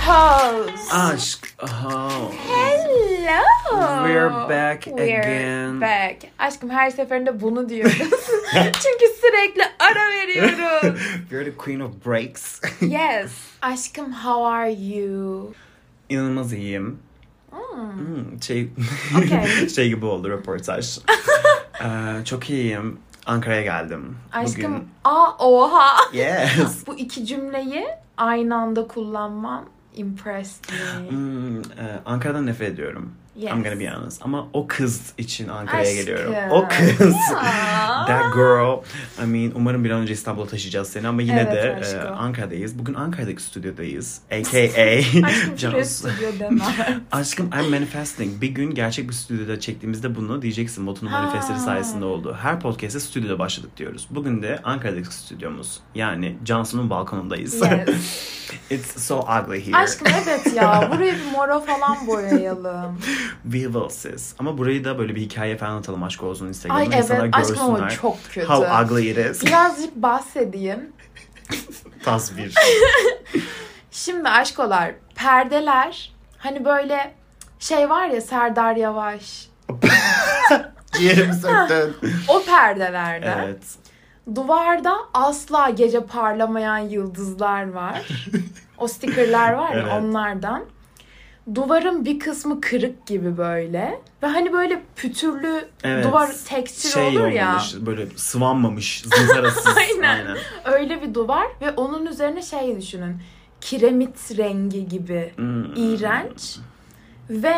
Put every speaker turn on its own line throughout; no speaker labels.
house.
Aşk house.
Hello.
We're back
We're
again.
back. Aşkım her seferinde bunu diyoruz. Çünkü sürekli ara veriyoruz.
You're the queen of breaks.
yes. Aşkım how are you?
İnanılmaz iyiyim.
Hmm.
Hmm, şey,
Okay.
şey gibi oldu röportaj. Ee, çok iyiyim. Ankara'ya geldim.
Aşkım
Bugün.
aa oha.
Yes.
Bu iki cümleyi aynı anda kullanman impressed me.
Hmm, e, Ankara'dan nefret ediyorum.
Yes.
I'm gonna be honest. Ama o kız için Ankara'ya
Aşkım.
geliyorum. O kız.
Ya.
That girl. I mean umarım bir an önce İstanbul'a taşıyacağız seni ama yine
Evet,
de e,
aşkım.
Ankara'dayız. Bugün Ankara'daki stüdyodayız. AKA
Aşkım şuraya
Cansu.
stüdyo deme.
Aşkım I'm manifesting. Bir gün gerçek bir stüdyoda çektiğimizde bunu diyeceksin. Botunun
Ha.
manifestleri sayesinde oldu. Her podcast'te stüdyoda başladık diyoruz. Bugün de Ankara'daki stüdyomuz. Yani Cansu'nun balkonundayız.
Yes.
It's so ugly here.
Aşkım evet ya. Buraya bir mora falan boyayalım.
We will sis. Ama burayı da böyle bir hikaye falan atalım aşk olsun Instagram'a.
Ay
İnsanlar
evet aşkım ama
görsünler
çok kötü.
How ugly it is.
Birazcık bahsedeyim.
Tasvir.
Şimdi aşkolar perdeler hani böyle şey var ya Serdar Yavaş.
Yerim söktün.
O perdelerde
evet.
duvarda asla gece parlamayan yıldızlar var. O stickerlar var ya
Evet.
onlardan. Duvarın bir kısmı kırık gibi böyle. Ve hani böyle pütürlü
Evet.
duvar tekstür
Şey
olur ya.
olmamış, böyle sıvanmamış, zızarasız.
Aynen. Öyle bir duvar ve onun üzerine şey düşünün. Kiremit rengi gibi.
Hmm.
iğrenç ve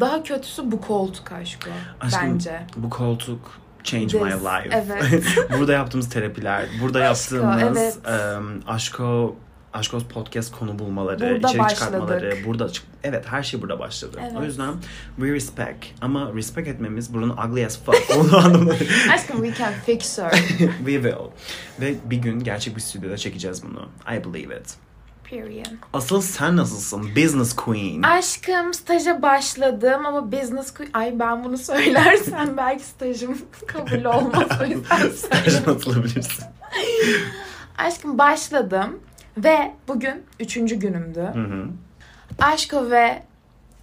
daha kötüsü bu koltuk aşkı
Aşkım,
bence.
Bu koltuk change
This,
my life.
evet.
burada yaptığımız terapiler, burada
Aşko,
yaptığımız
evet.
em, aşko Aşkos podcast konu bulmaları,
Burada
içerik
başladık.
çıkartmaları, burada çık- evet her şey burada başladı.
Evet.
O yüzden we respect ama respect etmemiz buranın ugly as fuck olduğu anlamına
Aşkım we can fix her.
we will. Ve bir gün gerçek bir stüdyoda çekeceğiz bunu. I believe it.
Period.
Asıl sen nasılsın? Business queen.
Aşkım staja başladım ama business que- Ay ben bunu söylersem belki stajım kabul olmaz. O yüzden söyle.
Sen atılabilirsin.
Aşkım başladım ve bugün üçüncü günümdü.
Hı hı.
Aşko ve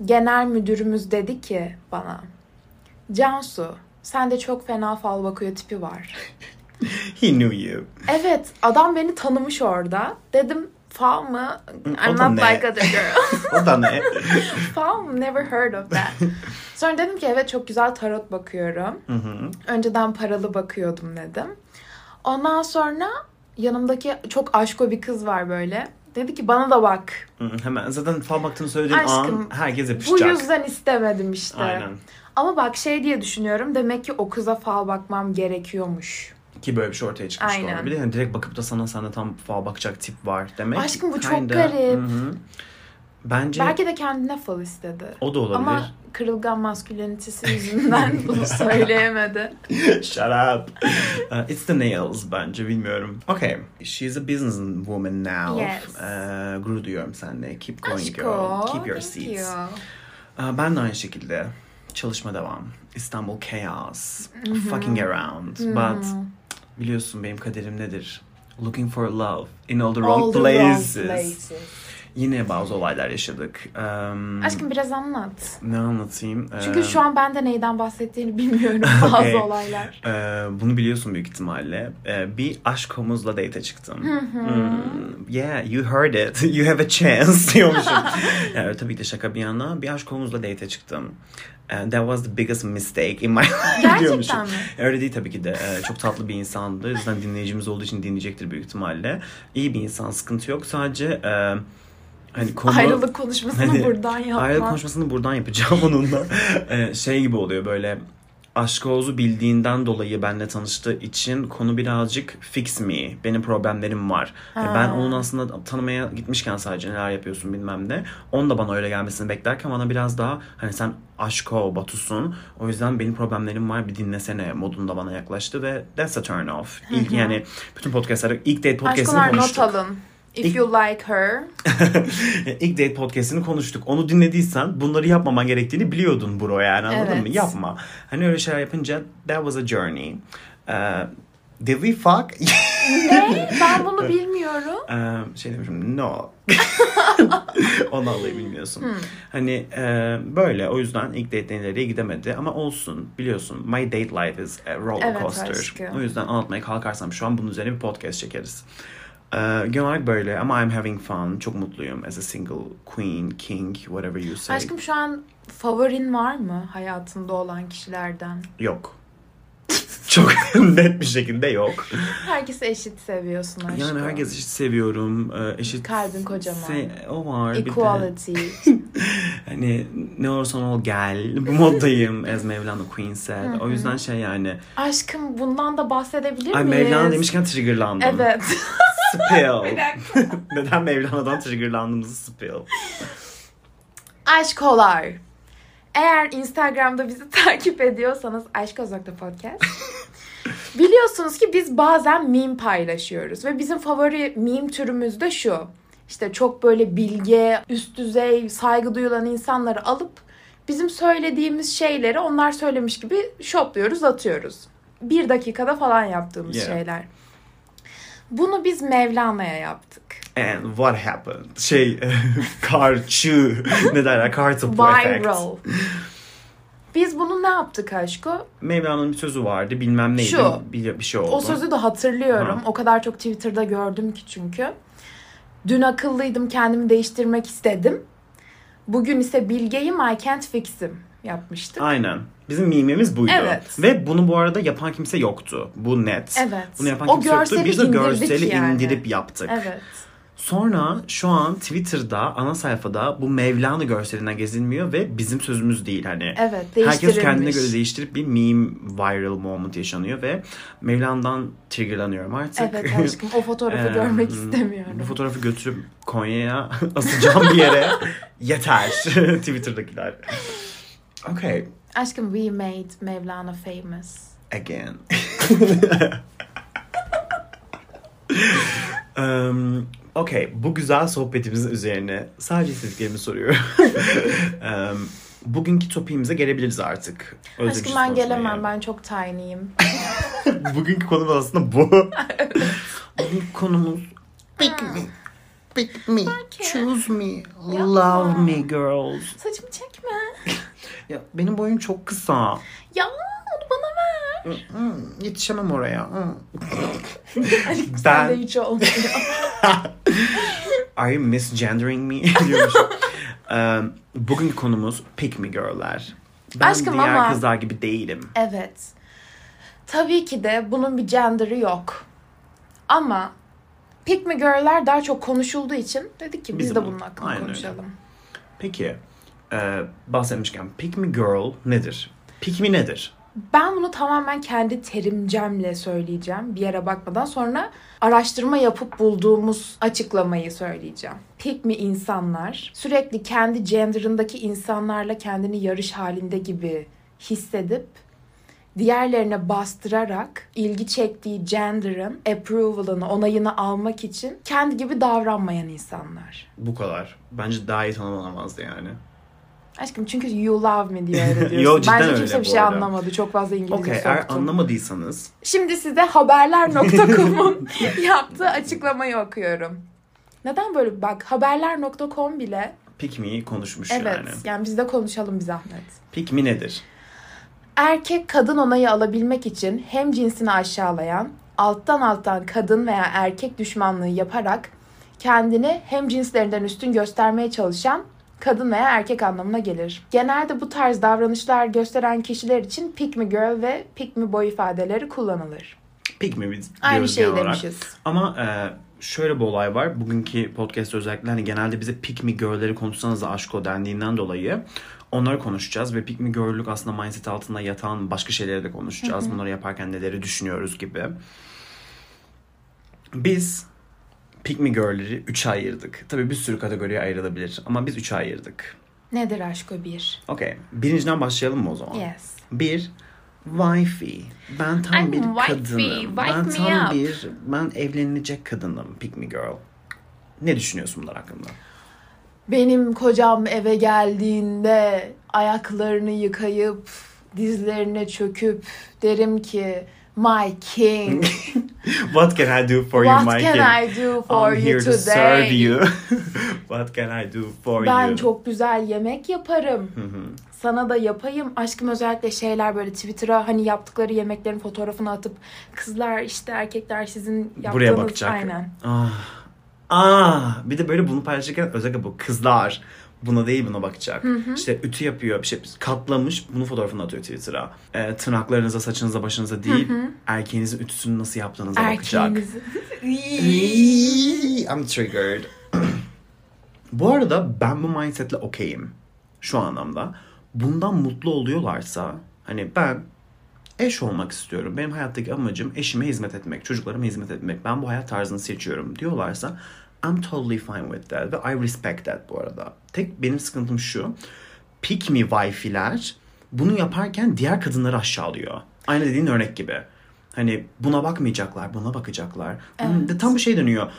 genel müdürümüz dedi ki bana. Cansu sende çok fena fal bakıyor tipi var.
He knew you.
Evet adam beni tanımış orada. Dedim fal mı?
o
I'm
da
not
ne?
like other girl.
O da ne?
fal mı? Never heard of that. Sonra dedim ki evet çok güzel tarot bakıyorum.
Hı hı.
Önceden paralı bakıyordum dedim. Ondan sonra yanımdaki çok aşko bir kız var böyle. Dedi ki bana da bak.
Hı, Hemen zaten fal baktığını söylediğin
Aşkım,
an herkes
Bu
yapışacak.
yüzden istemedim işte.
Aynen.
Ama bak şey diye düşünüyorum. Demek ki o kıza fal bakmam gerekiyormuş.
Ki böyle bir şey ortaya çıkmış
Aynen.
doğru. Bir de hani direkt bakıp da sana sana tam fal bakacak tip var demek.
Aşkım bu çok
Kinda.
garip.
Hı hı. Bence
Belki de kendine fal istedi.
o da olabilir.
Ama kırılgan maskülenitesi yüzünden bunu söyleyemedi.
Shut up. Uh, it's the nails bence bilmiyorum. Okay. She's a business woman now.
Yes.
Uh, guru diyorum seninle. Keep going girl.
Aşko.
Keep your
thank
seats.
you.
Uh, ben de aynı şekilde. Çalışma devam. İstanbul chaos. Fucking around.
Hmm.
But biliyorsun benim kaderim nedir? Looking for love in all the wrong,
All the
places.
wrong places.
Yine bazı olaylar yaşadık. Um,
Aşkım biraz anlat.
Ne anlatayım?
Çünkü
Um,
şu an ben de neyden bahsettiğini bilmiyorum bazı
Okay.
olaylar.
Ee, bunu biliyorsun büyük ihtimalle. Ee, bir aşk homuzla date çıktım. Hmm, yeah, you heard it. You have a chance diyormuşum. yani, tabii ki de şaka bir yana. Bir aşk homuzla date çıktım. And that was the biggest mistake in my life
Gerçekten
diyormuşum.
mi?
Öyle değil tabii ki de. Ee, çok tatlı bir insandı. O yüzden dinleyicimiz olduğu için dinleyecektir büyük ihtimalle. İyi bir insan, sıkıntı yok. Sadece e, hani konu...
Ayrılık konuşmasını
Hani
buradan yapma.
Ayrılık konuşmasını buradan yapacağım onunla. Ee, şey gibi oluyor böyle aşk Oğuz'u bildiğinden dolayı benle tanıştığı için konu birazcık fix me. Benim problemlerim var. Yani
Ha.
Ben onun aslında tanımaya gitmişken sadece neler yapıyorsun bilmem ne. Onun da bana öyle gelmesini beklerken bana biraz daha hani sen aşko Batu'sun. O yüzden benim problemlerim var bir dinlesene modunda bana yaklaştı ve that's a turn off. İlk yani bütün podcastları ilk date podcastını
Aşkolar not
konuştuk.
alın. If you like her.
İlk date podcast'ini konuştuk. Onu dinlediysen bunları yapmaman gerektiğini biliyordun bro yani anladın
Evet.
mı? Yapma. Hani öyle şeyler yapınca that was a journey. Ee, Did we fuck?
ne? Ben bunu bilmiyorum.
Ee, şey demişim no. Onu alayım bilmiyorsun.
Hmm.
Hani e, böyle o yüzden ilk date nereye gidemedi ama olsun biliyorsun my date life is a roller
Evet
coaster.
aşkım.
O yüzden anlatmaya kalkarsam şu an bunun üzerine bir podcast çekeriz. Ee, genel olarak böyle ama I'm having fun. Çok mutluyum as a single queen, king, whatever you say.
Aşkım şu an favorin var mı hayatında olan kişilerden?
Yok. Çok net bir şekilde yok.
Herkesi eşit seviyorsun aşkım.
Yani herkes eşit seviyorum. Ee, Eşit
Kalbin kocaman.
se- o var. bir de-
Equality.
Hani ne olursan ol gel. Bu moddayım as Mevlana Queen said. O yüzden şey yani.
Aşkım bundan da bahsedebilir
Ay
miyiz?
Mevlana demişken triggerlandım.
Evet.
Spill.
Bir dakika.
Neden Mevlana'dan triggerlandığımızı spill.
Aşkolar. Eğer Instagram'da bizi takip ediyorsanız Aşk Ozok'ta Podcast. Biliyorsunuz ki biz bazen meme paylaşıyoruz. Ve bizim favori meme türümüz de şu. İşte çok böyle bilge, üst düzey, saygı duyulan insanları alıp bizim söylediğimiz şeyleri onlar söylemiş gibi şopluyoruz, atıyoruz. Bir dakikada falan yaptığımız
Yeah.
şeyler. Bunu biz Mevlana'ya yaptık.
And what happened? Şey, karçı. ne derler? Kartopu effect.
Viral. Biz bunu ne yaptık aşko?
Mevlana'nın bir sözü vardı. Bilmem neydi.
Şu.
Bir, bir şey oldu.
O sözü de hatırlıyorum.
Ha.
O kadar çok Twitter'da gördüm ki çünkü. Dün akıllıydım, kendimi değiştirmek istedim. Bugün ise bilgeyim, I can't fix'im yapmıştık.
Aynen. Bizim mimimiz buydu.
Evet.
Ve bunu bu arada yapan kimse yoktu. Bu net.
Evet.
Bunu yapan
O
kimse yoktu.
görseli
Biz de
indirdik
görseli
yani.
indirip yaptık.
Evet.
Sonra şu an Twitter'da ana sayfada bu Mevlana görseline gezinmiyor ve bizim sözümüz değil hani.
Evet,
Herkes kendine
değiştirilmiş.
göre değiştirip bir meme viral moment yaşanıyor ve Mevlana'dan triggerlanıyorum artık.
Evet aşkım, o fotoğrafı
Ee,
görmek istemiyorum.
Bu fotoğrafı götürüp Konya'ya asacağım bir yere yeter Twitter'dakiler. Okay,
Aşkım, we made Mevlana famous.
again. um, okay, bu güzel sohbetimizin üzerine sadece istediklerimi soruyorum. um, bugünkü topiğimize gelebiliriz artık. Özdeşiz
Aşkım ben
konuşmaya.
gelemem, ben çok tiny'yim.
Bugünkü konumuz aslında bu. Bugünkü konumuz pick me. Pick me. Choose me. Love me girls.
Saçımı çekme.
Ya benim boyum çok kısa.
Ya onu bana ver.
Hmm, yetişemem oraya. Hmm.
Aşkım
Ben-
sende hiç olmuyor.
Are you misgendering me? diyormuş. um, bugünkü konumuz pick me girl'ler. Ben
Aşkım
diğer
ama-
kızlar gibi değilim.
Evet. Tabii ki de bunun bir gender'ı yok. Ama Pick Me Girl'ler daha çok konuşulduğu için dedik ki biz,
Biz
de
bunu-
bunun hakkında
Aynen öyle.
konuşalım.
Peki e, bahsetmişken pick me girl nedir? Pick me nedir?
Ben bunu tamamen kendi terimcemle söyleyeceğim. Bir yere bakmadan sonra araştırma yapıp bulduğumuz açıklamayı söyleyeceğim. Pick me insanlar sürekli kendi gender'ındaki insanlarla kendini yarış halinde gibi hissedip diğerlerine bastırarak ilgi çektiği gender'ın approval'ını, onayını almak için kendi gibi davranmayan insanlar.
Bu kadar. Bence daha iyi tanımlanamazdı yani.
Aşkım çünkü you love me diye öyle diyorsun.
Yo, cidden
Bence
öyle
kimse bir
bu
şey
arada.
anlamadı. Çok fazla İngilizce
Okey eğer
soktum.
anlamadıysanız
Şimdi size haberler.com'un yaptığı açıklamayı okuyorum. Neden böyle bak haberler.com bile
pick me'yi konuşmuş
evet
yani.
yani biz de konuşalım bir zahmet.
Pick me nedir?
Erkek kadın onayı alabilmek için hem cinsini aşağılayan, alttan alttan kadın veya erkek düşmanlığı yaparak kendini hem cinslerinden üstün göstermeye çalışan kadın veya erkek anlamına gelir. Genelde bu tarz davranışlar gösteren kişiler için pick me girl ve pick me boy ifadeleri kullanılır.
Pick me biz
Aynı şey
diyoruz
şeyi
genel olarak.
demişiz.
Ama e, şöyle bir olay var. Bugünkü podcast'te özellikle hani genelde bize pick me girl'leri konuşsanız da aşko dendiğinden dolayı onları konuşacağız ve pick me girl'lük aslında mindset altında yatan başka şeyleri de konuşacağız. Bunları yaparken neleri düşünüyoruz gibi. Biz pick me girl'leri 3'e ayırdık. Tabii bir sürü kategoriye ayrılabilir ama biz 3'e ayırdık.
Nedir aşk o bir?
Okey. Birinciden başlayalım mı o zaman?
Yes.
Bir wifi. Ben tam
I'm
bir
wifey,
kadınım.
wife
ben
me
tam
up.
bir ben evlenilecek kadınım. Pick me girl. Ne düşünüyorsun bunlar hakkında?
Benim kocam eve geldiğinde ayaklarını yıkayıp dizlerine çöküp derim ki my king.
What can I do for you,
What
my
can
king?
I do for
I'm
you
here to
today?
serve you. What can I do for
Ben
you?
çok güzel yemek yaparım. Sana da yapayım. Aşkım özellikle şeyler böyle Twitter'a hani yaptıkları yemeklerin fotoğrafını atıp kızlar işte erkekler sizin yaptığınız
Buraya bakacak.
aynen.
Ah. Ah. Bir de böyle bunu paylaşırken özellikle bu kızlar buna değil buna bakacak. İşte ütü yapıyor, bir şey katlamış, bunu fotoğrafını atıyor Twitter'a. Ee, tırnaklarınıza, saçınıza, başınıza değil, erkeğinizin ütüsünü nasıl yaptığınıza bakacak.
Erkeğinizi.
Iiii, I'm triggered. bu arada ben bu mindsetle okeyim. Şu anlamda. Bundan mutlu oluyorlarsa hani ben eş olmak istiyorum. Benim hayattaki amacım eşime hizmet etmek, çocuklarıma hizmet etmek. Ben bu hayat tarzını seçiyorum diyorlarsa I'm totally fine with that ve I respect that bu arada. Tek benim sıkıntım şu. Pick me wife'ler bunu yaparken diğer kadınları aşağılıyor. Aynı dediğin örnek gibi. Hani buna bakmayacaklar, buna bakacaklar. Hmm, de Tam bir şey dönüyor.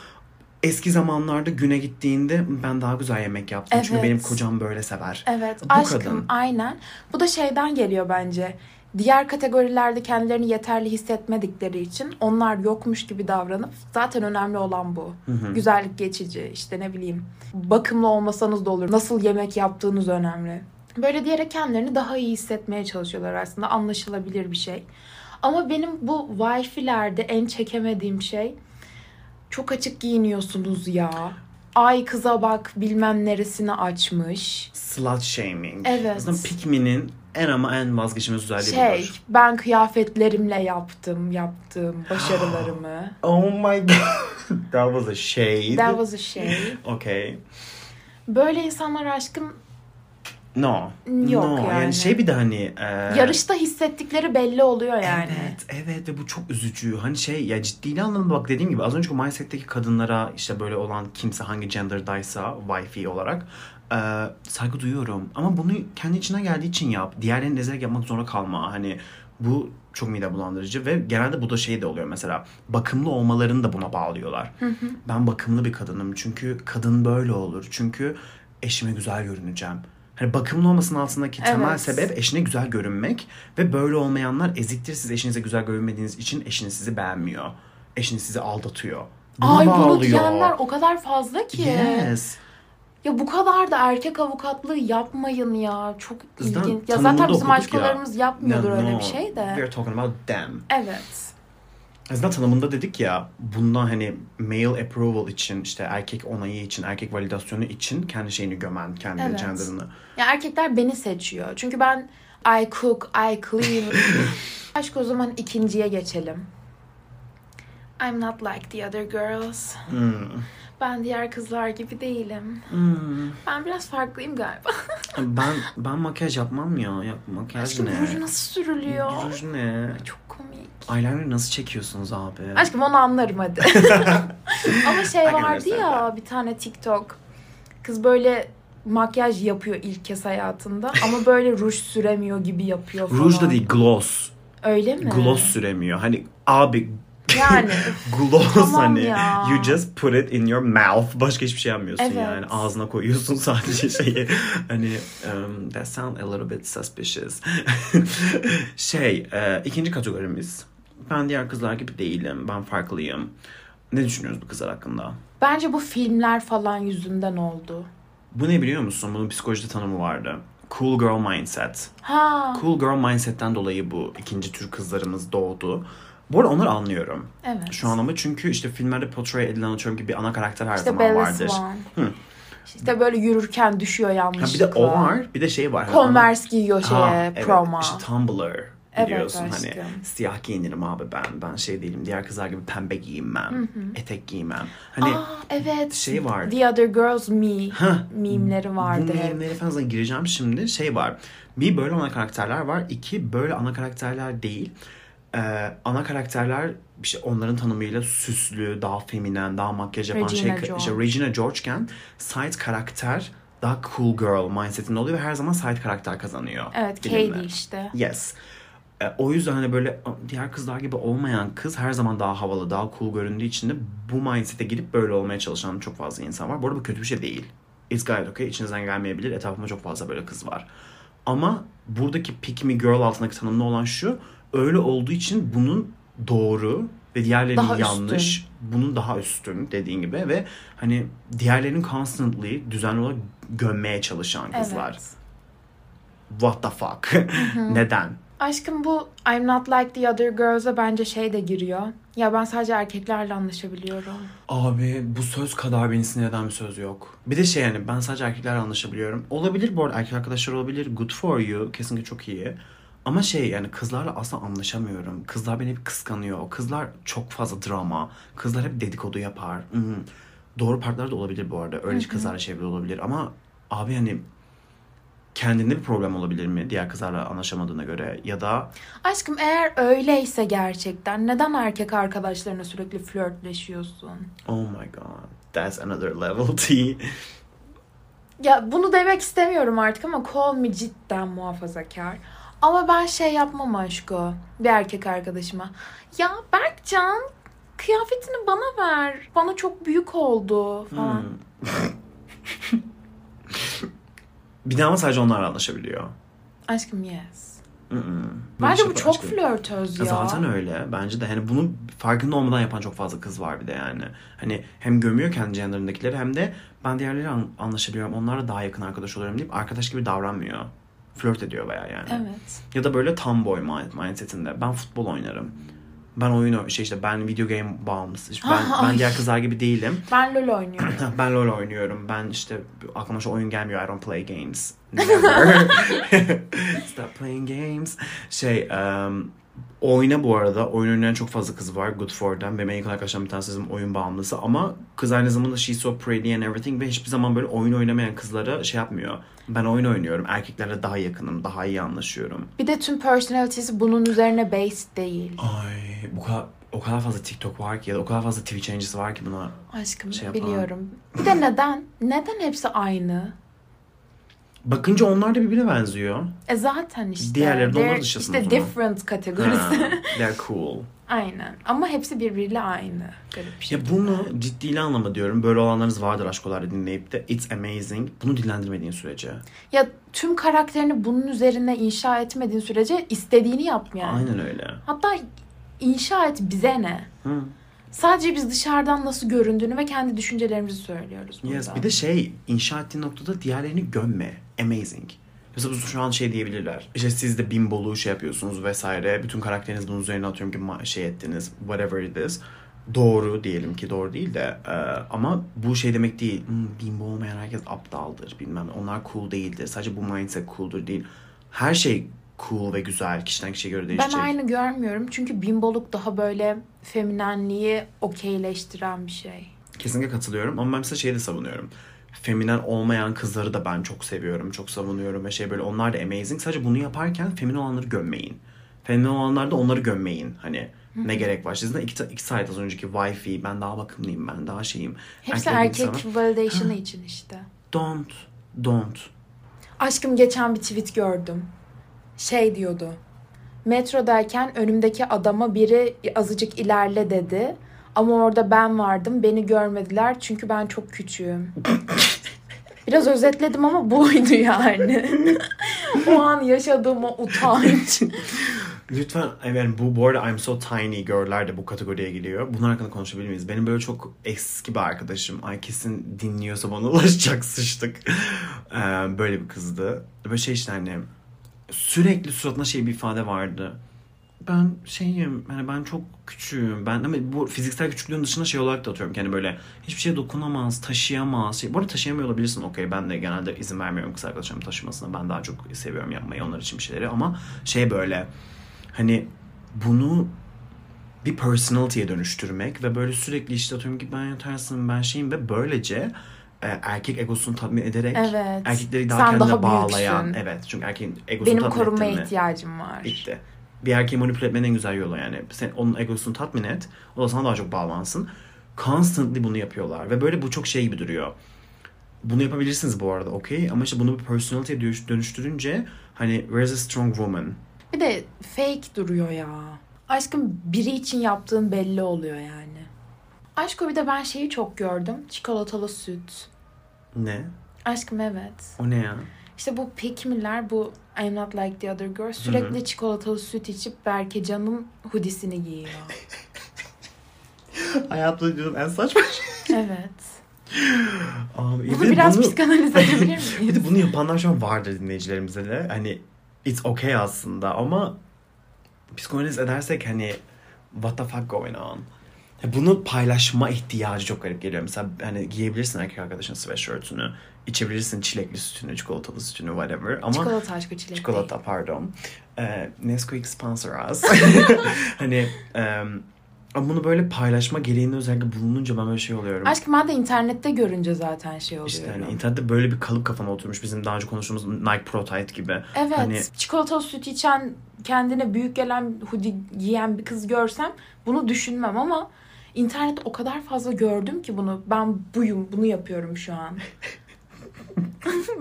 Eski zamanlarda güne gittiğinde ben daha güzel yemek yaptım çünkü
Evet.
benim kocam böyle sever.
Evet
Bu
aşkım
kadın.
aynen. Bu da şeyden geliyor bence. Diğer kategorilerde kendilerini yeterli hissetmedikleri için onlar yokmuş gibi davranıp zaten önemli olan bu. Güzellik geçici işte ne bileyim bakımlı olmasanız da olur. Nasıl yemek yaptığınız önemli. Böyle diyerek kendilerini daha iyi hissetmeye çalışıyorlar aslında anlaşılabilir bir şey. Ama benim bu wifi'lerde en çekemediğim şey çok açık giyiniyorsunuz ya. Ay kıza bak bilmem neresini açmış.
Slut shaming.
Evet.
Aslında pick me'nin en ama en vazgeçilmez özelliği
Şey,
budur.
ben kıyafetlerimle yaptım, yaptım başarılarımı.
Oh my god. That was a shade.
That was a şey.
Okay.
Böyle insanlar aşkım
No.
Yok
no.
yani.
şey bir de hani. e,
yarışta hissettikleri belli oluyor yani.
Evet, evet ve bu çok üzücü. Hani şey ya ciddi anlamda bak dediğim gibi az önce o mindset'teki kadınlara işte böyle olan kimse hangi genderdaysa wifi olarak e, saygı duyuyorum. Ama bunu kendi içine geldiği için yap. Diğerlerini ezerek yapmak zorunda kalma. Hani bu çok mide bulandırıcı ve genelde bu da şey de oluyor mesela bakımlı olmalarını da buna bağlıyorlar. Ben bakımlı bir kadınım çünkü kadın böyle olur. Çünkü eşime güzel görüneceğim. Hani bakımlı olmasının altındaki temel
Evet.
sebep eşine güzel görünmek ve böyle olmayanlar eziktir. Siz eşinize güzel görünmediğiniz için eşiniz sizi beğenmiyor. Eşiniz sizi aldatıyor. Buna
Ay bunu
bağlıyor.
diyenler o kadar fazla ki.
Yes.
Ya bu kadar da erkek avukatlığı yapmayın ya. Çok
Zaten
ilginç. Ya
tanımını
zaten
da
bizim
okuduk
aşkolarımız
ya.
yapmıyordur
No,
öyle
no.
bir şey
We
de.
are talking about them.
Evet.
Aslında tanımında dedik ya bundan hani male approval için işte erkek onayı için erkek validasyonu için kendi şeyini gömen kendi
Evet.
gender'ını.
Ya erkekler beni seçiyor. Çünkü ben I cook, I clean. Aşk o zaman ikinciye geçelim. I'm not like the other girls.
Hmm.
Ben diğer kızlar gibi değilim.
Hmm.
Ben biraz farklıyım galiba.
Ben ben makyaj yapmam ya. Yap, makyaj
Aşkım
ne?
ruj nasıl sürülüyor?
Ruj ne?
Çok komik.
Eyeliner nasıl çekiyorsunuz abi?
Aşkım onu anlarım hadi. Ama şey
I can
vardı
understand
ya bir tane TikTok. Kız böyle makyaj yapıyor ilk kez hayatında ama böyle ruj süremiyor gibi yapıyor falan.
Ruj da değil gloss.
Öyle mi?
Gloss süremiyor. Hani abi
Yani
gloss
Tamam
hani
ya.
you just put it in your mouth. Başka hiçbir şey yapmıyorsun
Evet.
yani. Ağzına koyuyorsun sadece şeyi. hani um, that sound a little bit suspicious. şey e, ikinci kategorimiz. Ben diğer kızlar gibi değilim. Ben farklıyım. Ne düşünüyoruz bu kızlar hakkında?
bence bu filmler falan yüzünden oldu.
Bu ne biliyor musun? Bunun psikolojide tanımı vardı. Cool girl mindset.
Ha
Cool girl mindset'ten dolayı bu ikinci tür kızlarımız doğdu. Bu arada onları anlıyorum.
evet.
Şu an ama çünkü işte filmlerde portray edilen atıyorum ki bir ana karakter her
işte
zaman
Bella
vardır.
Swan.
Hı.
İşte böyle yürürken düşüyor
Ha,
yanlışlıkla.
bir de o var, bir de şey var. Hani ana-
Converse giyiyor şeye,
Ha, evet,
proma.
İşte Tumblr
Evet,
biliyorsun
aşkım.
hani siyah giyinirim abi ben. Ben şey değilim. Diğer kızlar gibi pembe giyinmem. Etek giymem. Hani
Aa, evet.
şey vardı.
The Other Girls Me
Hah.
mimleri vardı.
Bu
hep.
mimlere falan zaten gireceğim şimdi. Şey var. Bir böyle ana karakterler var. iki böyle ana karakterler değil. Ee, ana karakterler işte onların tanımıyla süslü, daha feminen, daha makyaj yapan
Regina
şey.
George.
işte Regina George'ken side karakter daha cool girl mindsetinde oluyor ve her zaman side karakter kazanıyor.
Evet,
filmle.
Katie işte.
Yes. E, o yüzden hani böyle diğer kızlar gibi olmayan kız her zaman daha havalı, daha cool göründüğü için de bu mindset'e girip böyle olmaya çalışan çok fazla insan var. Bu arada bu kötü bir şey değil. It's gayet okay. İçinizden gelmeyebilir. Etrafımda çok fazla böyle kız var. Ama buradaki pick me girl altındaki tanımlı olan şu. Öyle olduğu için bunun doğru ve diğerlerinin
Daha üstün.
yanlış. Bunun daha üstün dediğin gibi ve hani diğerlerinin constantly düzenli olarak gömmeye çalışan kızlar.
Evet.
What the fuck? Neden?
Aşkım bu I'm not like the other girls'a bence şey de giriyor. Ya ben sadece erkeklerle anlaşabiliyorum.
Abi bu söz kadar beni sinir eden bir söz yok. Bir de şey yani ben sadece erkeklerle anlaşabiliyorum. Olabilir bu arada erkek arkadaşlar olabilir. Good for you. Kesinlikle çok iyi. Ama şey yani kızlarla asla anlaşamıyorum. Kızlar beni hep kıskanıyor. Kızlar çok fazla drama. Kızlar hep dedikodu yapar. Hmm. Doğru partner de olabilir bu arada. Öyle şey kızlarla çevrili olabilir ama abi hani kendinde bir problem olabilir mi diğer kızlarla anlaşamadığına göre ya da
Aşkım eğer öyleyse gerçekten neden erkek arkadaşlarına sürekli flörtleşiyorsun?
oh my god that's another level tea
Ya bunu demek istemiyorum artık ama call me cidden muhafazakar. Ama ben şey yapmam aşko bir erkek arkadaşıma. Ya Berkcan kıyafetini bana ver. Bana çok büyük oldu falan.
Hmm. bir daha mı sadece onlarla anlaşabiliyor?
Aşkım yes.
Hı hı. Böyle
Bence
şey
bu
var
çok
aşkım.
flörtöz ya.
Zaten öyle. Bence de hani bunun farkında olmadan yapan çok fazla kız var bir de yani. Hani hem gömüyor kendi yanlarındakileri hem de ben diğerleriyle an- anlaşabiliyorum. Onlarla daha yakın arkadaş oluyorum deyip arkadaş gibi davranmıyor. Flört ediyor bayağı yani.
Evet.
Ya da böyle tam boy mindsetinde. Ben futbol oynarım. Ben oyun oyn- şey işte ben video game bağımlısı. İşte Ben, ben
Ay.
diğer kızlar gibi değilim.
Ben LOL oynuyorum.
Ha, ben LoL oynuyorum. Ben işte aklıma şu oyun gelmiyor. I don't play games. Never. Stop playing games. Şey, um, oyna bu arada. Oyun oynayan çok fazla kız var. Good for them. Benim en yakın arkadaşlarım bir tanesi bizim oyun bağımlısı. Ama kız aynı zamanda she's so pretty and everything ve hiçbir zaman böyle oyun oynamayan kızlara şey yapmıyor. Ben oyun oynuyorum. Erkeklerle daha yakınım. Daha iyi anlaşıyorum.
Bir de tüm personality'si bunun üzerine based değil.
Ay bu kadar o kadar fazla TikTok var ki ya da o kadar fazla Twitch yayıncısı var ki buna
Aşkım
Şey yapalım.
biliyorum. Bir de neden? Neden hepsi aynı?
bakınca onlar da birbirine benziyor.
E zaten işte.
Diğerleri de onlar
They're
dışlasın o
İşte
zaman.
different
Ha,
kategorisi.
they're cool.
Aynen. Ama hepsi birbiriyle aynı. Garip bir
Ya
şekilde.
bunu ciddiyle anlama diyorum. Böyle olanlarınız vardır aşkolarda dinleyip de it's amazing. Bunu dillendirmediğin sürece.
Ya tüm karakterini bunun üzerine inşa etmediğin sürece istediğini yap yani.
Aynen öyle.
Hatta inşa et bize ne?
Hı.
Sadece biz dışarıdan nasıl göründüğünü ve kendi düşüncelerimizi söylüyoruz burada.
Yes. Bir de şey inşa ettiğin noktada diğerlerini gömme. Amazing. Mesela bu şu an şey diyebilirler. İşte siz de bimbolu şey yapıyorsunuz vesaire. Bütün karakteriniz bunun üzerine atıyorum ki ma- şey ettiniz. Whatever it is. Doğru diyelim ki doğru değil de e, ama bu şey demek değil. Hmm, bimbo olmayan herkes aptaldır bilmem. ne. Onlar cool değildir. Sadece bu mindset cooldur değil. Her şey cool ve güzel kişiden kişiye göre
ben
değişecek.
aynı görmüyorum çünkü bimboluk daha böyle feminenliği okeyleştiren bir şey.
Kesinlikle katılıyorum ama ben mesela şeyi de savunuyorum. Feminen olmayan kızları da ben çok seviyorum, çok savunuyorum ve şey böyle onlar da amazing. Sadece bunu yaparken feminen olanları gömmeyin. Feminen olanlar da onları gömmeyin. Hani ne gerek var? Sizin de iki, iki side az önceki wifi, ben daha bakımlıyım, ben daha şeyim.
Hepsi
Erkek
erkek,
insanı-
validation'ı için işte.
Don't, don't.
Aşkım geçen bir tweet gördüm. Şey diyordu. Metrodayken önümdeki adama biri azıcık ilerle dedi. Ama orada ben vardım. Beni görmediler çünkü ben çok küçüğüm. Biraz özetledim ama buydu yani. o an yaşadığım o utanç.
Lütfen yani bu, bu arada I'm so tiny girl'ler de bu kategoriye giriyor. Bunlar hakkında konuşabilir miyiz? Benim böyle çok eski bir arkadaşım. Ay kesin dinliyorsa bana ulaşacak sıçtık. Ee, böyle bir kızdı. Böyle şey işte hani sürekli suratına şey bir ifade vardı. Ben şeyim hani ben çok küçüğüm. Ben ama bu fiziksel küçüklüğün dışında şey olarak da atıyorum. ki hani böyle hiçbir şeye dokunamaz, taşıyamaz. Şey, bu arada taşıyamıyor olabilirsin okey. Ben de genelde izin vermiyorum kız arkadaşlarımın taşımasına. Ben daha çok seviyorum yapmayı onlar için bir şeyleri ama şey böyle hani bunu bir personality'ye dönüştürmek ve böyle sürekli işte atıyorum ki ben yatarsın ben şeyim ve böylece e, erkek egosunu tatmin ederek
Evet.
erkekleri daha
Sen
kendine
daha
bağlayan
büyüksün.
evet çünkü erkeğin egosunu
Benim
tatmin ettin
korumaya
mi?
ihtiyacım var.
Bitti. Bir erkeği manipüle etmenin en güzel yolu yani. Sen onun egosunu tatmin et. O da sana daha çok bağlansın. Constantly bunu yapıyorlar. Ve böyle bu çok şey gibi duruyor. Bunu yapabilirsiniz bu arada okey. Ama işte bunu bir personality'ye dönüş- dönüştürünce hani where's a strong woman?
Bir de fake duruyor ya. Aşkım biri için yaptığın belli oluyor yani. Aşko bir de ben şeyi çok gördüm. Çikolatalı süt.
Ne?
Aşkım evet.
O ne ya?
İşte bu Pekimliler bu I'm not like the other girls sürekli çikolatalı süt içip Berkecan'ın hudisini giyiyor.
Hayatta duyduğum en saçma şey.
evet.
Abi,
Bunu
bir de
biraz
bunu-
psikanaliz edebilir
Bir
miyiz?
de bunu yapanlar şu an vardır dinleyicilerimize de. Hani it's okay aslında ama psikanaliz edersek hani what the fuck going on? Ya Bunu paylaşma ihtiyacı çok garip geliyor. Mesela hani giyebilirsin erkek arkadaşın sweatshirt'ünü, içebilirsin çilekli sütünü, çikolatalı sütünü whatever ama
Çikolata aşkı çilek.
Çikolata pardon. Ee, Nesquik sponsor us. hani em, ama bunu böyle paylaşma gereğinde özellikle bulununca ben böyle şey oluyorum.
Aşk madde internette görünce zaten şey oluyor.
İşte hani internette böyle bir kalıp kafama oturmuş. Bizim daha önce konuştuğumuz Nike Pro Tight gibi.
Evet.
Hani-
Çikolatalı süt içen, kendine büyük gelen hoodie giyen bir kız görsem bunu düşünmem ama internette o kadar fazla gördüm ki bunu. Ben buyum, bunu yapıyorum şu an.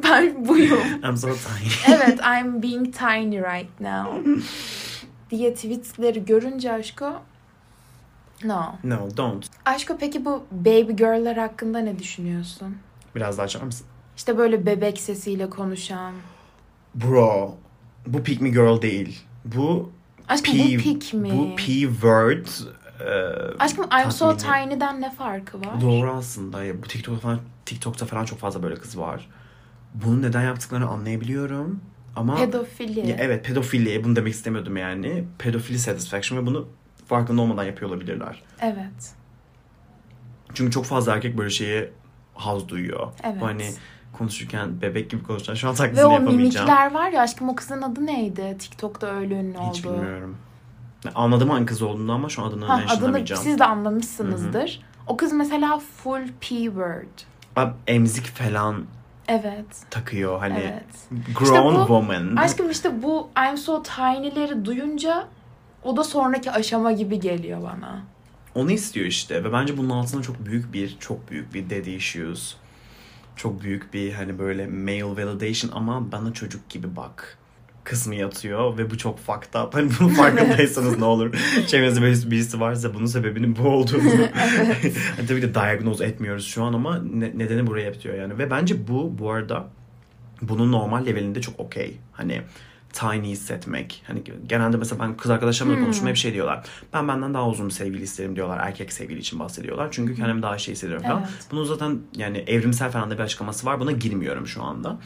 ben buyum.
I'm so tiny.
Evet, I'm being tiny right now. diye tweetleri görünce aşko No.
No don't.
Aşko peki bu baby girl'ler hakkında ne düşünüyorsun?
Biraz daha açar mısın?
İşte böyle bebek sesiyle konuşan.
Bro. Bu pick me girl değil. Bu
Aşkım
P,
bu pik mi?
Bu P word. e,
Aşkım I'm so
tatmini.
tiny'den ne farkı var?
Doğru aslında. Ya Bu TikTok'ta falan, TikTok'ta falan çok fazla böyle kız var. Bunu neden yaptıklarını anlayabiliyorum. Ama
Pedofili.
Ya e- evet pedofili bunu demek istemiyordum yani. Pedofili satisfaction ve bunu farkında olmadan yapıyor olabilirler.
Evet.
Çünkü çok fazla erkek böyle şeye haz duyuyor.
Evet.
Bu hani konuşurken bebek gibi konuşan şu an taklidini
Ve o
yapamayacağım.
mimikler var ya aşkım o kızın adı neydi? TikTok'ta öyle ünlü oldu.
Hiç bilmiyorum. Ya Anladım hangi kız olduğunu ama şu an adını
Ha, adını
mentionlamayacağım.
siz de anlamışsınızdır. O kız mesela full P word.
Ab- Emzik falan
Evet.
takıyor hani.
Evet.
Grown
İşte bu-
woman.
Aşkım işte bu I'm so tiny'leri duyunca o da sonraki aşama gibi geliyor bana.
Onu istiyor işte ve bence bunun altında çok büyük bir çok büyük bir daddy issues. Çok büyük bir hani böyle male validation ama bana çocuk gibi bak kısmı yatıyor ve bu çok fucked up. Hani bunun farkındaysanız ne olur. Çevrenizde böyle birisi varsa bunun sebebinin bu olduğunu. hani tabii ki de diagnoz etmiyoruz şu an ama ne- nedeni buraya yapıyor yani. Ve bence bu bu arada bunun normal levelinde çok okey. Hani tiny hissetmek. Hani genelde mesela ben kız arkadaşlarımla
Hmm.
konuşmaya bir şey diyorlar. Ben benden daha uzun bir sevgili isterim diyorlar. Erkek sevgili için bahsediyorlar. Çünkü kendimi daha şey hissediyorum falan.
Evet.
Bunun zaten yani evrimsel falan da bir açıklaması var. Buna girmiyorum şu anda.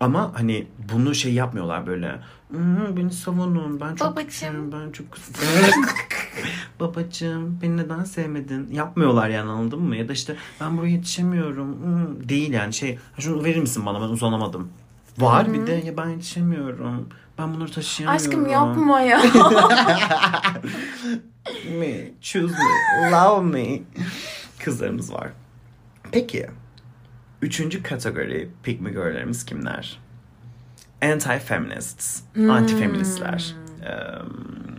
Ama hani bunu şey yapmıyorlar böyle. "Hmm, beni savunun. Ben çok
Babacım.
küçüğüm, Ben çok Babacım beni neden sevmedin? Yapmıyorlar yani anladın mı? Ya da işte ben buraya yetişemiyorum. Hmm, Değil yani şey. "Ha, Şunu verir misin bana? Ben uzanamadım. Var bir de ya ben yetişemiyorum. Ben bunları taşıyamıyorum.
Aşkım yapma ya.
Me, choose me, love me. Kızlarımız var. Peki. Üçüncü kategori pick me girl'lerimiz kimler? Anti-feminists.
Hmm.
Anti-feministler. Um,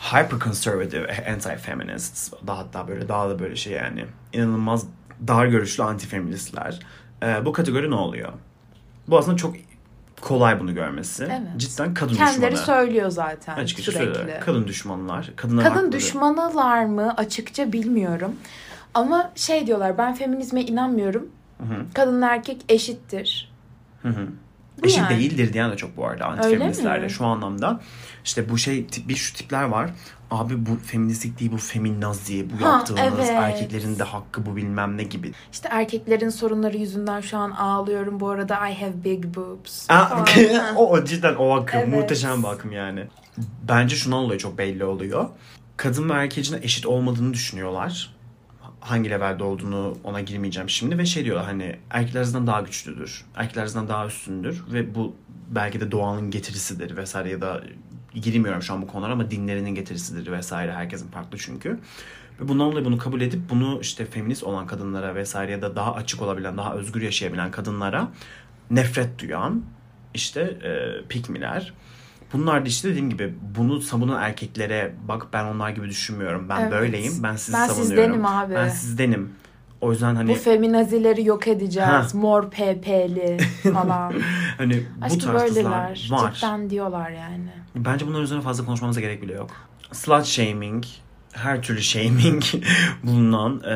hyper-conservative eh, anti-feminists. Daha hatta böyle daha da böyle şey yani. inanılmaz dar görüşlü anti-feministler. Ee, bu kategori ne oluyor? Bu aslında çok kolay bunu görmesi.
Evet.
Cidden kadın
Kendileri
düşmanı.
söylüyor zaten
Açıkça
sürekli.
söylüyorum. Kadın düşmanlar. Kadına
Kadın düşmanılar mı açıkça bilmiyorum. Ama şey diyorlar ben feminizme inanmıyorum.
hı.
Kadınla erkek eşittir.
Hı hı.
Bu
Eşit
yani.
değildir diyen de çok bu arada
mi?
antifeministlerde şu anlamda. işte bu şey tip- bir şu tipler var. Abi bu feministlik değil bu feminazi bu
Ha,
yaptığınız
evet.
erkeklerin de hakkı bu bilmem ne gibi.
İşte erkeklerin sorunları yüzünden şu an ağlıyorum. Bu arada I have big boobs.
Aa,
falan.
o, o cidden o akım
Evet.
muhteşem bir akım yani. Bence şundan dolayı çok belli oluyor. Kadın ve erkeğin eşit olmadığını düşünüyorlar. Hangi levelde olduğunu ona girmeyeceğim şimdi ve şey diyorlar hani erkekler azından daha güçlüdür. Erkekler azından daha üstündür ve bu belki de doğanın getirisidir vesaire ya da girmiyorum şu an bu konulara ama dinlerinin getirisidir vesaire herkesin farklı çünkü. Ve bundan dolayı bunu kabul edip bunu işte feminist olan kadınlara vesaire ya da daha açık olabilen, daha özgür yaşayabilen kadınlara nefret duyan işte e, pikmiler. Bunlar da işte dediğim gibi bunu savunan erkeklere bak ben onlar gibi düşünmüyorum. Ben
Evet.
böyleyim. Ben sizi
Ben
savunuyorum.
sizdenim abi."
Ben sizdenim. O yüzden hani
Bu feminazileri yok edeceğiz.
Ha.
Mor PP'li falan.
hani bu
Aşkım
tarz
böyleler.
kızlar var.
Cidden diyorlar yani.
Bence bunların üzerine fazla konuşmamıza gerek bile yok. Slut shaming, her türlü shaming bulunan, e,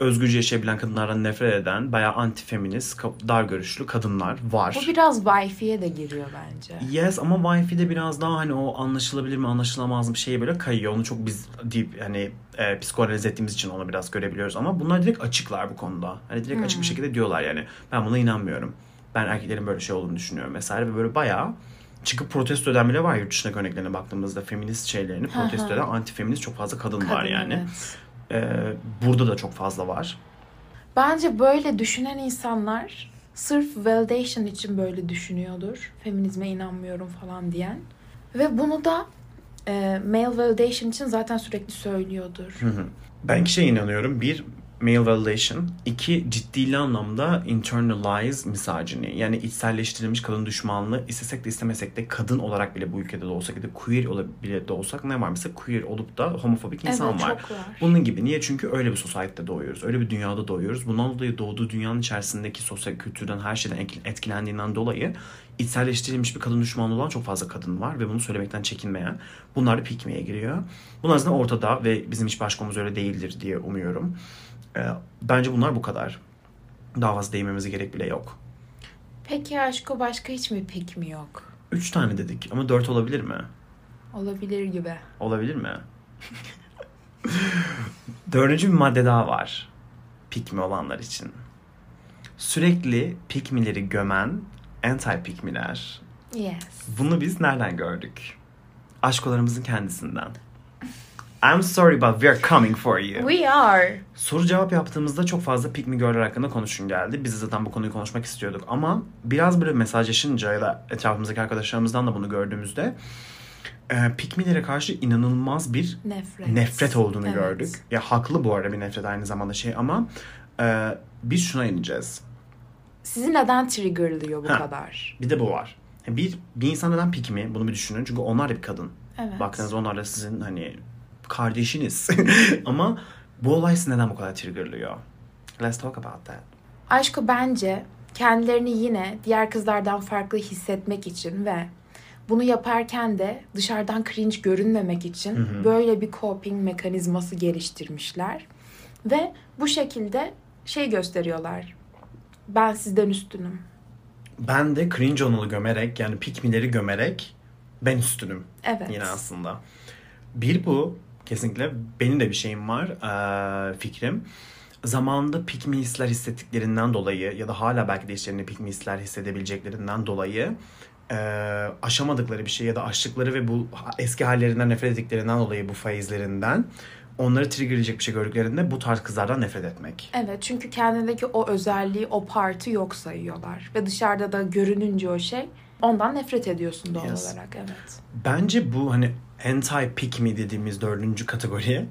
özgürce yaşayabilen kadınlardan nefret eden, bayağı antifeminist, ka- dar görüşlü kadınlar var.
Bu biraz wifi'ye de giriyor bence.
Yes ama wi de biraz daha hani o anlaşılabilir mi anlaşılamaz mı şeye böyle kayıyor. Onu çok biz deep hani e, psikoanaliz ettiğimiz için onu biraz görebiliyoruz. Ama bunlar direkt açıklar bu konuda. Hani direkt
Hmm.
açık bir şekilde diyorlar yani. Ben buna inanmıyorum. Ben erkeklerin böyle şey olduğunu düşünüyorum vesaire. Ve böyle bayağı çıkıp protesto eden bile var yurt dışındaki örneklerine baktığımızda feminist şeylerini protesto eden anti-feminist çok fazla kadın, var
Kadın,
yani.
evet.
E, burada da çok fazla var.
Bence böyle düşünen insanlar sırf validation için böyle düşünüyordur. Feminizme inanmıyorum falan diyen. Ve bunu da e, male validation için zaten sürekli söylüyordur.
Hı hı. Ben iki şeye inanıyorum. Bir, male validation. iki ciddili anlamda internalized misogyny. Yani içselleştirilmiş kadın düşmanlığı. istesek de istemesek de kadın olarak bile bu ülkede de olsak ya da queer olarak bile de olsak ne var mesela queer olup da homofobik insan
evet
var.
çok var.
Bunun gibi. Niye? Çünkü öyle bir sosyetede doğuyoruz. Öyle bir dünyada doğuyoruz. Bundan dolayı doğduğu dünyanın içerisindeki sosyal kültürden her şeyden etki- etkilendiğinden dolayı içselleştirilmiş bir kadın düşmanı olan çok fazla kadın var ve bunu söylemekten çekinmeyen. Bunlar da pikmeye giriyor. Bunlar aslında ortada ve bizim hiç başkamız öyle değildir diye umuyorum. Ee, bence bunlar bu kadar. Daha fazla değinmemize gerek bile yok.
Peki aşko başka hiç mi pik mi yok?
Üç tane dedik ama dört olabilir mi?
Olabilir gibi.
Olabilir mi? Dördüncü bir madde daha var. Pikmi olanlar için. Sürekli pikmileri gömen anti-pikmiler.
Yes.
Bunu biz nereden gördük? Aşkolarımızın kendisinden. I'm sorry but we are coming for you.
We are.
Soru cevap yaptığımızda çok fazla pikmi görler hakkında konuşun geldi. Biz de zaten bu konuyu konuşmak istiyorduk ama biraz böyle mesajlaşınca ya da etrafımızdaki arkadaşlarımızdan da bunu gördüğümüzde e, pikmilere karşı inanılmaz bir
Nefret.
nefret olduğunu
Evet.
gördük. Ya haklı bu arada bir nefret aynı zamanda şey ama e, biz şuna ineceğiz.
Sizi neden triggerlıyor bu
Ha.
kadar?
Bir de bu var. Bir, bir insan neden pikmi? Bunu bir düşünün. Çünkü onlar da bir kadın.
Evet.
Baktığınızda onlar da sizin hani kardeşiniz. ama bu olay sizi neden bu kadar triggerlıyor? Let's talk about that.
Aşko bence kendilerini yine diğer kızlardan farklı hissetmek için ve bunu yaparken de dışarıdan cringe görünmemek için böyle bir coping mekanizması geliştirmişler. Ve bu şekilde şey gösteriyorlar. Ben sizden üstünüm.
Ben de cringe onalı gömerek yani pikmileri gömerek ben üstünüm
Evet.
yine aslında. Bir bu kesinlikle benim de bir şeyim var eee, fikrim. Zamanında pikmi hisler hissettiklerinden dolayı ya da hala belki de içlerinde pikmi hisler hissedebileceklerinden dolayı eee, aşamadıkları bir şey ya da aştıkları ve bu ha- eski hallerinden nefret ettiklerinden dolayı bu faizlerinden onları triggerleyecek bir şey gördüklerinde bu tarz kızlardan nefret etmek.
Evet çünkü kendindeki o özelliği, o parti yok sayıyorlar. Ve dışarıda da görününce o şey ondan nefret ediyorsun doğal
Yes.
olarak. Evet.
Bence bu hani anti pick me dediğimiz dördüncü kategoriye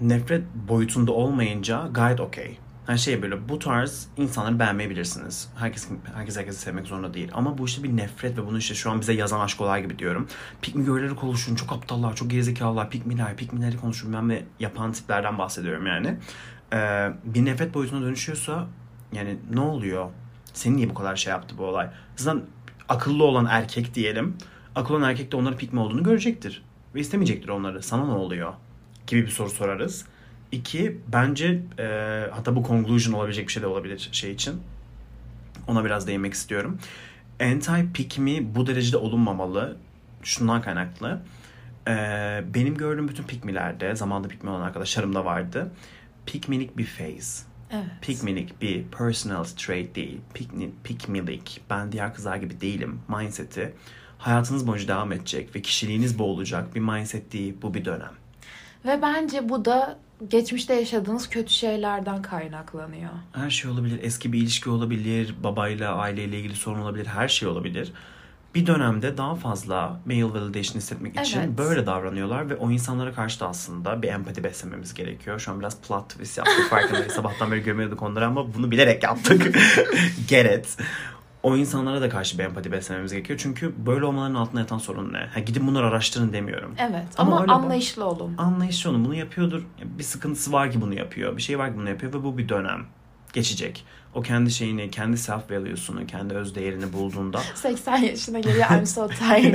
nefret boyutunda olmayınca gayet okey. Her şey böyle bu tarz insanları beğenmeyebilirsiniz. Herkes, herkes herkesi sevmek zorunda değil. Ama bu işte bir nefret ve bunu işte şu an bize yazan aşkolar gibi diyorum. Pikmi görleri konuşun, çok aptallar, çok gerizekalılar, pikmiler, pikmileri konuşun ben ve yapan tiplerden bahsediyorum yani. Ee, bir nefret boyutuna dönüşüyorsa yani ne oluyor? Seni niye bu kadar şey yaptı bu olay? Zaten akıllı olan erkek diyelim. Akıllı olan erkek de onların pikmi olduğunu görecektir. Ve istemeyecektir onları. Sana ne oluyor? Gibi bir soru sorarız. İki, bence e, hatta bu conclusion olabilecek bir şey de olabilir şey için. Ona biraz değinmek istiyorum. Anti pikmi bu derecede olunmamalı. Şundan kaynaklı. E, benim gördüğüm bütün pikmilerde, zamanda pikmi olan arkadaşlarım da vardı. Pikmilik bir phase.
Evet.
Pikmilik bir personal trait değil. Pikni, pikmilik. Ben diğer kızlar gibi değilim. Mindset'i hayatınız boyunca devam edecek ve kişiliğiniz bu olacak bir mindset değil. Bu bir dönem.
Ve bence bu da geçmişte yaşadığınız kötü şeylerden kaynaklanıyor.
Her şey olabilir. Eski bir ilişki olabilir. Babayla, aileyle ilgili sorun olabilir. Her şey olabilir. Bir dönemde daha fazla male validation hissetmek için
Evet.
böyle davranıyorlar ve o insanlara karşı da aslında bir empati beslememiz gerekiyor. Şu an biraz plot twist yaptık farkındayız. Sabahtan beri gömüyorduk onları ama bunu bilerek yaptık. Get it. O insanlara da karşı bir empati beslememiz gerekiyor. Çünkü böyle olmaların altında yatan sorun ne? Ha, gidin bunları araştırın demiyorum.
Evet
Ama
ama,
öyle bak-
anlayışlı olun.
Anlayışı onu bunu yapıyordur. Bir sıkıntısı var ki bunu yapıyor. Bir şey var ki bunu yapıyor ve bu bir dönem. Geçecek. O kendi şeyini, kendi self value'sunu, kendi öz değerini bulduğunda
80 yaşına geliyor I'm so tired.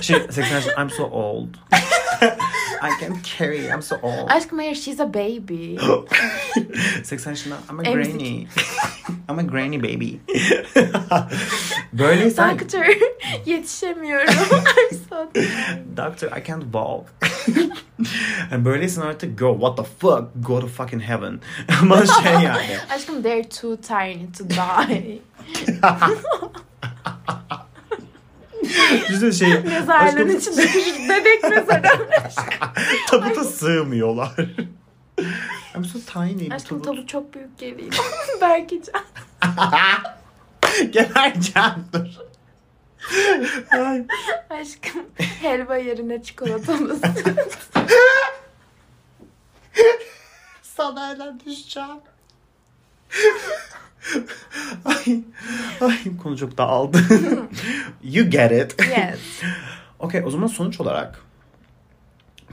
şey, 80 yaşında I'm so old. I can't carry. I'm so old.
Aşkım hayır she's a baby.
80 yaşında. I'm a
Emzik.
granny. I'm a granny baby. Böyleysen
Doctor yetişemiyorum. I'm so tired.
Doctor I can't walk. yani böyleysen artık girl what the fuck go to fucking heaven. Ama şey yani.
Aşkım they're too tiny to die.
Güzel şey.
Mezarlığın
aşkım-
içindeki ilk bebek mezarı.
Tabuta sığmıyorlar. I'm so tiny.
Aşkım
Aşkım
tavuk çok büyük geliyor. Belki can.
Gebereceğim dur. Ay.
Aşkım helva yerine çikolatamız.
Sana elden düşeceğim. ay, ay konu çok dağıldı. you get it.
yes.
Okey o zaman sonuç olarak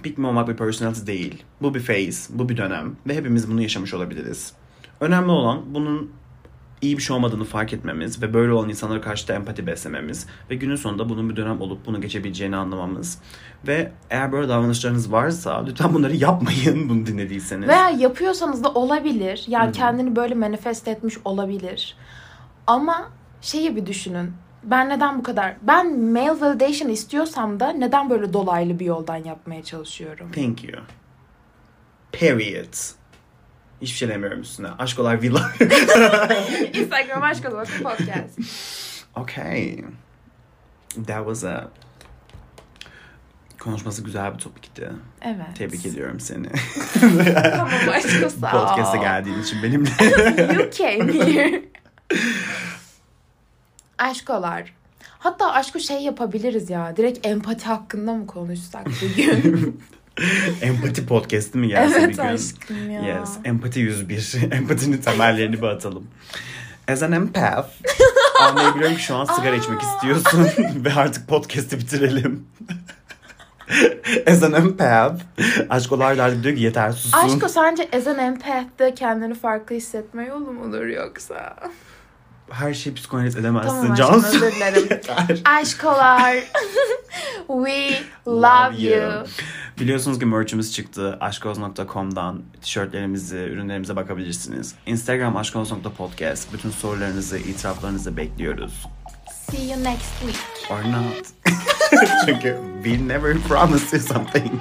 Pikmin olmak bir personality değil. Bu bir phase, bu bir dönem ve hepimiz bunu yaşamış olabiliriz. Önemli olan bunun iyi bir şey olmadığını fark etmemiz ve böyle olan insanlara karşı da empati beslememiz ve günün sonunda bunun bir dönem olup bunu geçebileceğini anlamamız. Ve eğer böyle davranışlarınız varsa lütfen bunları yapmayın bunu dinlediyseniz.
Veya yapıyorsanız da olabilir. Yani kendini böyle manifest etmiş olabilir. Ama şeyi bir düşünün. Ben neden bu kadar... Ben male validation istiyorsam da neden böyle dolaylı bir yoldan yapmaya çalışıyorum?
Thank you. Period. Hiçbir şey demiyorum üstüne. Aşk olay villa.
Instagram aşk olası podcast.
Okay. That was a... Konuşması güzel bir topikti.
Evet.
Tebrik ediyorum seni.
Tamam aşkım sağ ol.
Podcast'a geldiğin için benimle.
You came here. Aşkolar. Hatta aşkı şey yapabiliriz ya. Direkt empati hakkında mı konuşsak bugün?
Empati podcast'i mi gelse bir
evet
gün?
aşkım ya.
Yes. Empati 101. Empatinin temellerini bir atalım. As an empath. Anlayabiliyorum ki şu an sigara içmek istiyorsun. Ve artık podcast'i bitirelim. As an empath. Aşkolar da diyor ki yeter susun.
Aşko sence as an empath'te kendini farklı hissetme yolu mudur yoksa?
Her şeyi psikanaliz edemezsin
Tamam aşkım
Cansu.
özür dilerim.
Yeter.
Aşkolar. We love you.
Biliyorsunuz ki merchimiz çıktı. Aşkoz.com'dan tişörtlerimizi, ürünlerimize bakabilirsiniz. Instagram aşkoz.podcast. Bütün sorularınızı, itiraflarınızı bekliyoruz.
See you next week.
Or not. Çünkü we never promise you something.